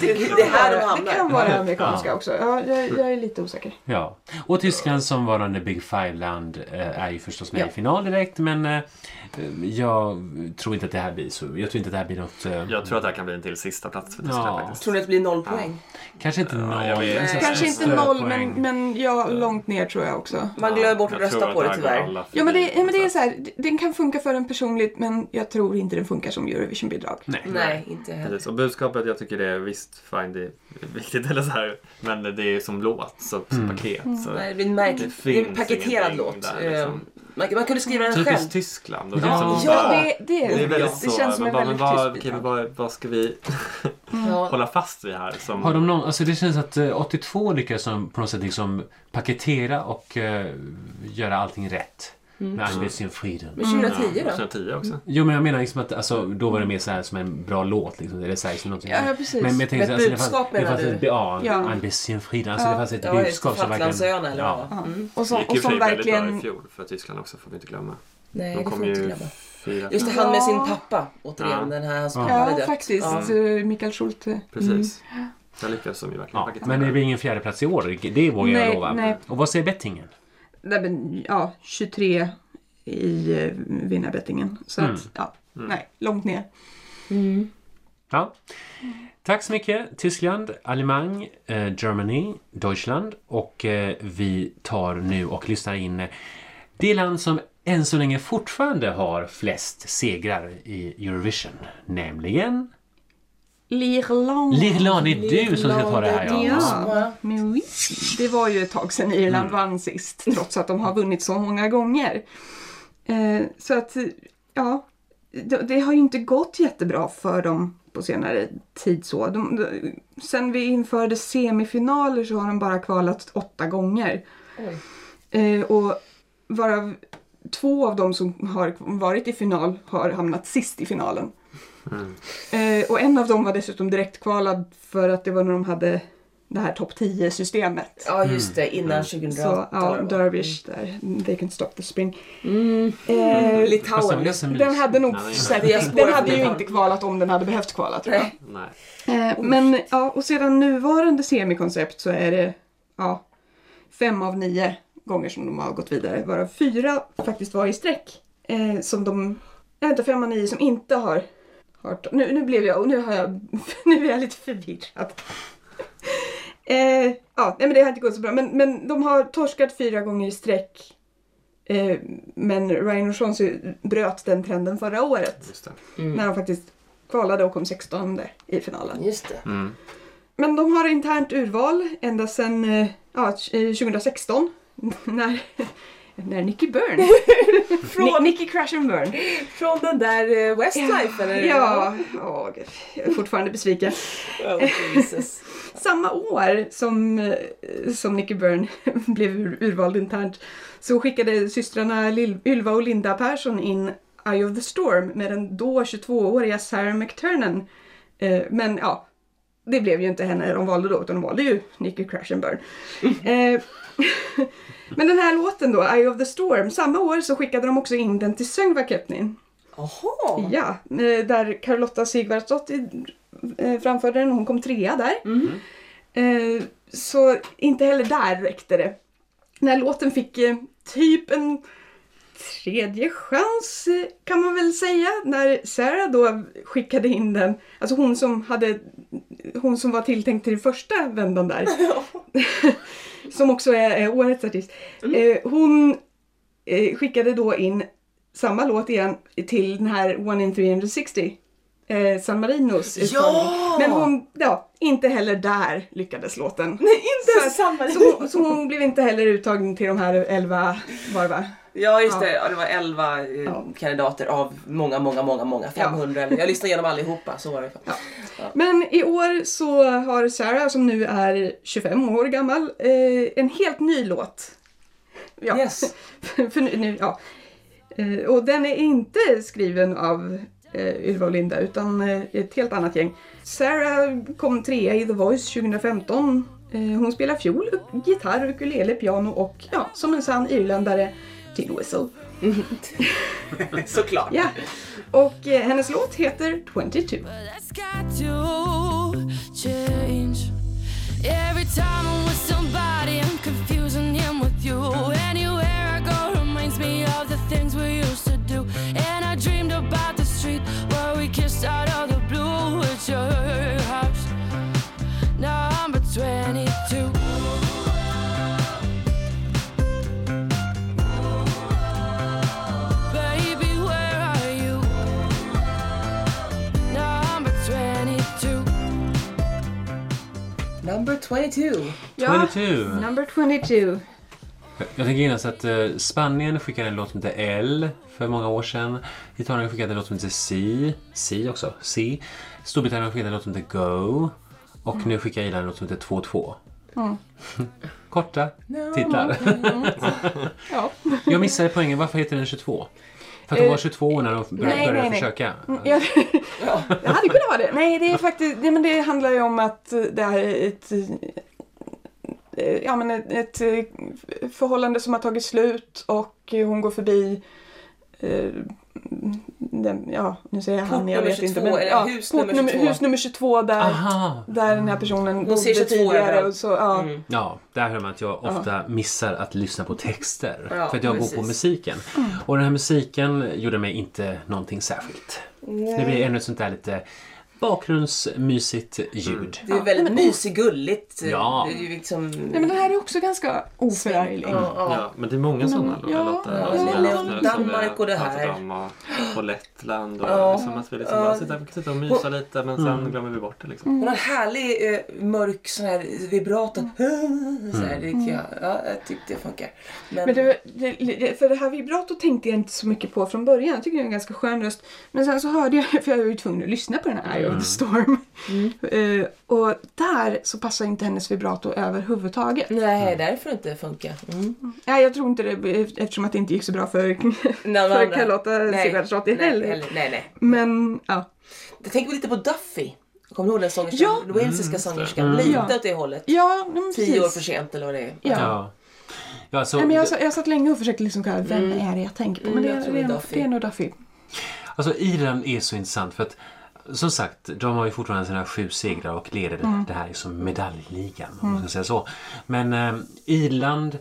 Det, Det är här kan de vara- det kan hamnar. vara det amerikanska också. Ja, jag, jag är lite osäker. Ja, och Tyskland som var under Big Five-land eh, är ju förstås med i final direkt men eh, jag tror inte att det här blir så. Jag tror inte att det här blir något... eh, Jag tror att det här kan bli en till sista plats för Tyskland Ja. faktiskt. Tror ni att det blir noll poäng? Kanske inte noll. jag vet. men så- Kanske inte stödpoäng. noll, men, men ja, långt ner tror jag också. Man glömmer bort att Jag tror rösta på att det här går tyvärr. alla Ja men, det, förbi ja, men det är någonstans. så här, d- den kan funka för en personligt men jag tror inte den funkar som Eurovision-bidrag. Nej, inte heller. Precis. Och budskapet, jag tycker det är visst fine, det är viktigt eller så här. Men det är som låt, så, som paket. Så. Nej, det blir en märklig, Det det är en finns paketerad ingenting låt. där, liksom. Eh, Man, man kunde skriva den själv. Typiskt Tyskland. Och liksom Ja. bara- det, det, Det är väldigt så. det känns som men en bara, väldigt men vad, tyst typ. okej, men bidrag. vad, vad ska vi hålla fast vid här? Som, Har de någon, alltså det känns att eh, 82 lyckades som på något sätt liksom paketera och eh, göra allting rätt. Mm. Med Ambition Freedom. Men 2010 då? 2010 också. Jo men jag menar liksom att alltså, då var det mer så här som en bra låt liksom. Eller så här, som någonting. Ja, ja, precis. Men, men jag tänkte, Med alltså, det budskap, fanns, det menar fanns du? ett, ja, Ja. Ambition Freedom. Alltså det fanns ett Ja, just det, budskap som Falklandsöarna eller vad det var. Och Det som, gick och ju för som sig väldigt bra i verkligen... fjol för Tyskland också, får vi inte glömma. Nej, De det kom får jag inte ju glömma. fyra. Just det, han med Ja. sin pappa. Återigen, Ja. Mm. den här hans pappa hade Ja, dött. faktiskt. Ja. eh, Mikael Schulte. Precis. Mm. Där lyckades de ju verkligen Ja, paketera. men det blir ingen fjärde plats i år, det vågar jag Nej, lova. nej. Och vad säger bettingen? Nej men ja, 23 i eh, vinnarbettingen. Så att, ja. Nej, långt ner. Ja. Tack så mycket Tyskland, Allemagne, eh, Germany, Deutschland och eh, vi tar nu och lyssnar in eh, det land som än så länge fortfarande har flest segrar i Eurovision, nämligen L'Irlande. Lirland, det är du som ska ta det här ja. Ja, men oui. Det var ju ett tag sedan Irland vann sist, trots att de har vunnit så många gånger. Eh, så att, ja, det, det har ju inte gått jättebra för dem på senare tid så. De, de, sen vi införde semifinaler så har de bara kvalat åtta gånger. Eh, och varav två av dem som har varit i final har hamnat sist i finalen. Mm. Eh, och en av dem var dessutom direktkvalad för att det var när de hade det här topp 10-systemet. Ja, just det. Innan 2008. Så ja, eller vad. Dervish där, They Can Stop The Spring. Eh, Fast Litauen. blev så den hade nog Mm. Nej, nej, nej. säkert, Diaspora. den hade ju inte kvalat om den hade behövt kvala tror jag. Nej. Nej. Eh, men ja, och sedan nuvarande semikoncept så är det ja, fem av nio gånger som de har gått vidare, varav fyra faktiskt var i sträck. Eh, som de, jag vet inte, fem av nio som inte har hört. Nu, nu blev jag, och nu har jag, nu är jag lite förvirrad. eh, ja, nej men det har inte gått så bra, men, men de har torskat fyra gånger i sträck. Eh, men Ryan O'Shaughnessy bröt den trenden förra året Just det. när de faktiskt kvalade och kom 16 i finalen. Just det. Men de har internt urval ända sedan eh, ja, t- eh, 2016 när, när Nicky Byrne, Ni- Nicky Crash and Burn. Från den där eh, Westlife eller? Ja, ja, gud, jag är fortfarande besviken. Oh, Jesus. Samma år som, eh, som Nicky Byrne blev ur, urvald internt så skickade systrarna Lil, Ylva och Linda Persson in Eye of the Storm med den då 22-åriga Sarah McTurnan. Eh, men ja, det blev ju inte henne de valde då utan de valde ju Nicky Crash and Burn. Eh, men den här låten då, Eye of the Storm, samma år så skickade de också in den till Söngvakeppnin. Jaha. Ja, eh, där Carlotta Sigvardsdottir eh, framförde den och hon kom trea där. Eh, Så inte heller där räckte det. Den här låten fick eh, typ en tredje chans eh, kan man väl säga när Sarah då skickade in den. Alltså hon som hade hon som var tilltänkt till den första vändan där. som också är eh, årets artist. Mm. Eh, Hon eh, skickade då in samma låt igen till den här One in 360. Eh, San Marinos utmaning. Men hon, ja, inte heller där lyckades låten. Nej, inte ens samma. Så hon, så hon blev inte heller uttagen till de här 11 var det va? Ja just Ja. det, ja, det var 11 eh, Ja. kandidater av många, många, många, många. 500 eller jag lyssnade igenom allihopa. Så var det. Ja. Men i år så har Sarah som nu är 25 år gammal eh, en helt ny låt. Ja. Yes. För nu, nu, ja. Eh, och den är inte skriven av eh, Ylva och Linda utan eh, ett helt annat gäng. Sarah kom trea i The Voice 2015. Eh, hon spelar fiol, uk- gitarr, ukulele, piano och ja, som en sann irländare, till whistle. Såklart. Ja. Och eh, hennes låt heter 22. But that's got to change. Every time I'm with somebody, I'm confusing him with you. Anywhere I go reminds me of the things we used to do. And I dreamed about the street where we kissed out of the blue at your house. Now I'm but 22. Baby, where are you? Number 22. Number 22. Ja, 22. number 22. Jag tänker genast att eh, Spanien skickade en låt som hette L för många år sedan. Italien skickade en låt som hette C. C också. C. Storbritannien skickade en låt som hette Go. Och nu skickar Irland en låt som heter 22. Korta titlar. Ja. Jag missade poängen. Varför heter den 22? För att de Eh, var 22 när de började, nej, började nej, Mm. nej. försöka. Ja, det hade kunnat vara det. Nej, det är faktiskt, det, men det handlar ju om att eh, det här är ett, eh, ja, men ett, ett eh, förhållande som har tagit slut och eh, hon går förbi eh, den, ja, nu säger jag Port han, jag nummer vet inte. 22, Men, eller ja, hus port nummer nummer- 22. hus nummer 22 där, Aha! där den här personen ser 22 bodde tidigare. Och överallt. så, ja. Ja, där hör man att jag ofta missar att lyssna på texter. Ja, för att jag går precis. på musiken. Och den här musiken gjorde mig inte någonting särskilt. Det blir ännu ett sånt där lite bakgrundsmysigt Mm. ljud. Det är ju väldigt mysgulligt. Ja. Det är ju liksom... Nej, men den här är också ganska oförarglig. ja, Mm. ja. Ja, men det är många sådana ja, låtar. ja, som vi har haft nu, som vi har Danmark och det här. pratat om Och, och Lettland. Och, Ja. Mm. liksom att vi liksom bara sitter, sitter och myser lite men sen Mm. glömmer vi bort det. Liksom. Och någon härlig eh, mörk sån här vibrato. Så här, det kan jag, ja, jag tyckte det funkar. Mm. Men, Men det, det, för det här vibrato tänkte jag inte så mycket på från början. Jag tycker det är en ganska skön röst. Men sen så hörde jag, för jag var ju tvungen att lyssna på den här Eye of the Storm. Mm. Eh, och där så passar inte hennes vibrato överhuvudtaget. Nej, därför inte funkar. Mm. Nej, jag tror inte det eftersom att det inte gick så bra för, Någon för annan. Carlotta Nej, Sigvardsdottir nej, heller. Nej, nej. Men ja. Jag tänker lite på Duffy. Kommer du ihåg den sångerskan? Ja. Mm. Den walesiska sångerskan. Lite Ja. åt det hållet. Ja, nej, men Tio år precis. för sent eller vad det är. Ja. Ja. Ja, så, Nej, men jag, sa- jag satt länge och försökte liksom kolla, vem är det jag tänker på? Men Mm, det, jag tror det, är, det är nog- Duffy. det är nog Duffy. Alltså Irland är så intressant för att som sagt, de har ju fortfarande sina sju segrar och leder Mm. det här är som medaljligan om man ska säga så. Men eh, Irland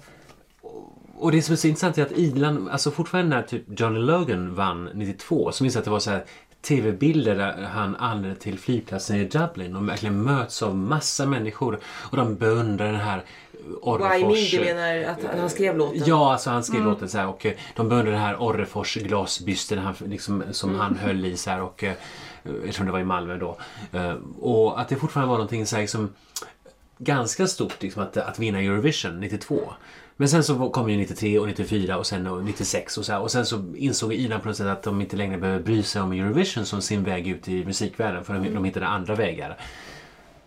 och det som är så intressant är att Irland, alltså fortfarande när typ Johnny Logan vann 92 så minns jag att det var så här TV-bilder där han anlände till flygplatsen i Dublin och verkligen möts av massa människor och de beundrar den här Why me? Orrefors... Du menar att han, han skrev låten? Mm. Ja, alltså han skrev låten så här och eh, de beundrade den här Orrefors glasbysten han, liksom, som han Mm. höll i så här och eh, eftersom det var i Malmö då. Eh, Och att det fortfarande var någonting så här liksom ganska stort liksom, att, att vinna Eurovision 92. Men sen så kom ju 93 och 94 och sen och 96 och så här. Och sen så insåg Irland på något sätt att de inte längre behöver bry sig om Eurovision som sin väg ut i musikvärlden för de, de hittade andra vägar.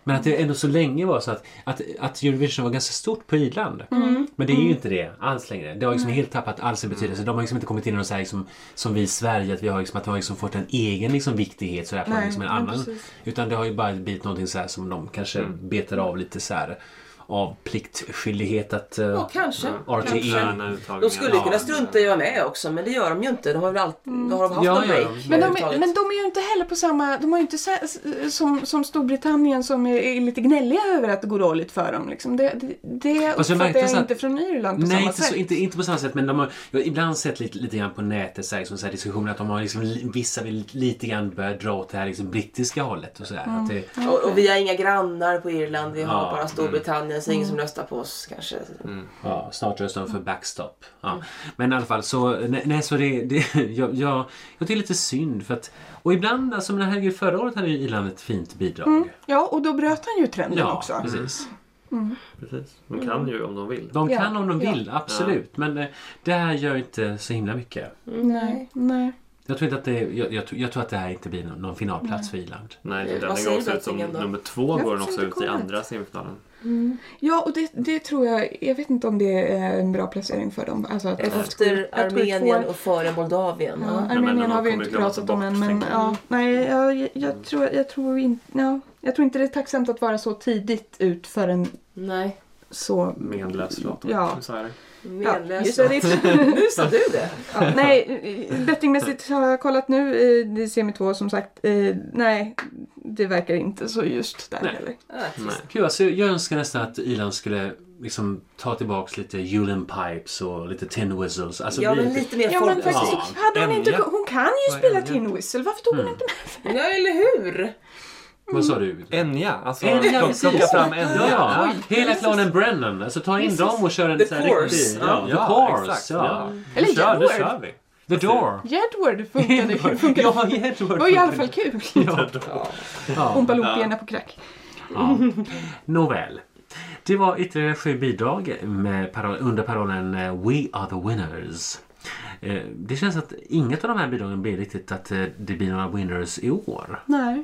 Men att det ändå så länge var så att, att, att Eurovision var ganska stort på Irland. Mm. Men det är ju inte det alls längre. Det har liksom helt tappat all sin betydelse. De har liksom inte kommit in i någon så här liksom, som vi i Sverige, att vi har liksom, att de har liksom fått en egen liksom viktighet sådär, på Nej, liksom en men annan. precis. Utan det har ju bara blivit någonting så här som de kanske betar av lite så här av pliktskyldighet att eh, Ja, kanske. RTE Interna uttagningar. De skulle ju E. Ja. kunna strunta i att vara med också men det gör de ju inte. De har väl alltid de har de haft Ja, någon ja, break ja. överhuvudtaget. Mm. Men de, är- men de är ju inte heller på samma... De har ju inte sä- s- som, som Storbritannien som är, är lite gnälliga över att det går dåligt för dem. Liksom. Det, det, det Fast jag uppfattar märkte jag så att- inte från Irland på Nej, samma inte, sätt. Så, inte, inte på samma sätt. Men de har, jag har ibland sett lite, lite grann på nätet så här, liksom, så här, diskussioner att de har liksom, li- vissa vill lite grann börja dra åt det här liksom, brittiska hållet. Och så där, Mm. att det, Och, och vi har inga grannar på Irland. Vi har Ja, bara Storbritannien så det är Mm. ingen som röstar på oss kanske. ja, snart röstar de för backstop. Ja. Men i alla fall, så, nej, nej, så det, det, jag, jag, jag tycker lite synd. För att, och ibland, alltså, men herregud, förra året hade ju Irland ett fint bidrag. Ja, och då bröt han ju trenden Ja, Mm. också. precis. Precis. Mm. De kan ju om de vill. De Ja, kan om de ja. vill, absolut. Men eh, det här gör inte så himla mycket. Nej, nej. Jag tror, inte att det, jag, jag, tror- jag tror att det här inte blir någon, någon finalplats för Irland. Nej, Eh, den vad går säger också ut som bettingen då? nummer två Jag går den har också faktiskt ut i inte kollat. andra semifinalen. Ja, och det, det tror jag... Jag vet inte om det är en bra placering för dem. Alltså att, att, Efter att gå i Armenien två- och före Moldavien. Ja, Ja. men Armenien de har vi ju kommer inte glömma pratat bort, om än, men tänker jag. ja, nej, jag, jag, jag, tror, jag, tror inte, ja, jag tror inte det är tacksamt att vara så tidigt ut för en Nej, så... Menlös låt. Ja. Så här. Ja, menlös. just det. nu sa du det. Ja, nej, eh, bettingmässigt har jag kollat nu i det är semi 2 som sagt. Eh, nej, det verkar inte så just där Nej. heller. Ja, Nej. Gud, alltså, jag önskar nästan att Irland skulle liksom, ta tillbaks lite Julian Pipes och lite Tin Whistles. Alltså, ja, bli men lite- lite mer Ja men folk. faktiskt, Ja, hade hon, inte, Enya. hon kan ju Vad är spela Enya? Tin Whistle, varför Mm. tog hon inte med? Ja, eller hur? Vad sa du? Enja, alltså Enya, plocka- precis. plocka fram Enja. Ja, hela klanen Brennan. Alltså ta in dem och kör en The så här Course. riktig... Ja, Ja, ja, the Course. exakt, ja. ja. Eller Nu kör, nu Jedward. kör vi. The Door. Jedward funkade ju. Funkade. ja, Edward. Det var ju i alla fall kul. Ja. Ja. Ompa loopierna på crack. Ja. Nåväl. Det var ytterligare sju bidrag med parol- under parollen eh, We are the winners. Eh, Det känns att inget av de här bidragen blir riktigt att eh, det blir några winners i år. Nej.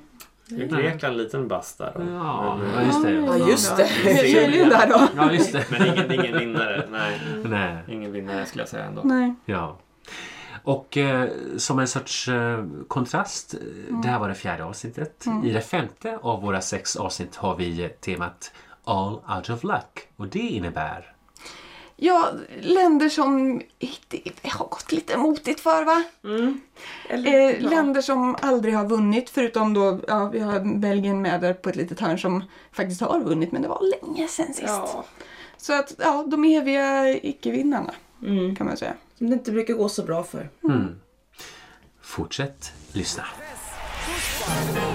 Grekland, liten bast där. då. Ja, Men, eh, ja just Ja, det. just det. Kylen där då. Ja, just det. men ingen, ingen vinnare. Nej, Nej. ingen vinnare skulle jag säga ändå. Nej. Ja. Och eh, som en sorts eh, kontrast, eh, det här var det fjärde avsnittet. I det femte av våra sex avsnitt har vi eh, temat All out of luck. Och det innebär... Ja, länder som det har gått lite motigt för va? Mm. Eller, Eh, Länder som aldrig har vunnit förutom då, ja vi har Belgien med där på ett litet hörn som faktiskt har vunnit men det var länge sedan sist. ja. Så att ja, de eviga icke-vinnarna kan man säga. Mm. Som det inte brukar gå så bra för. hmm, Fortsätt lyssna. Who's fighting?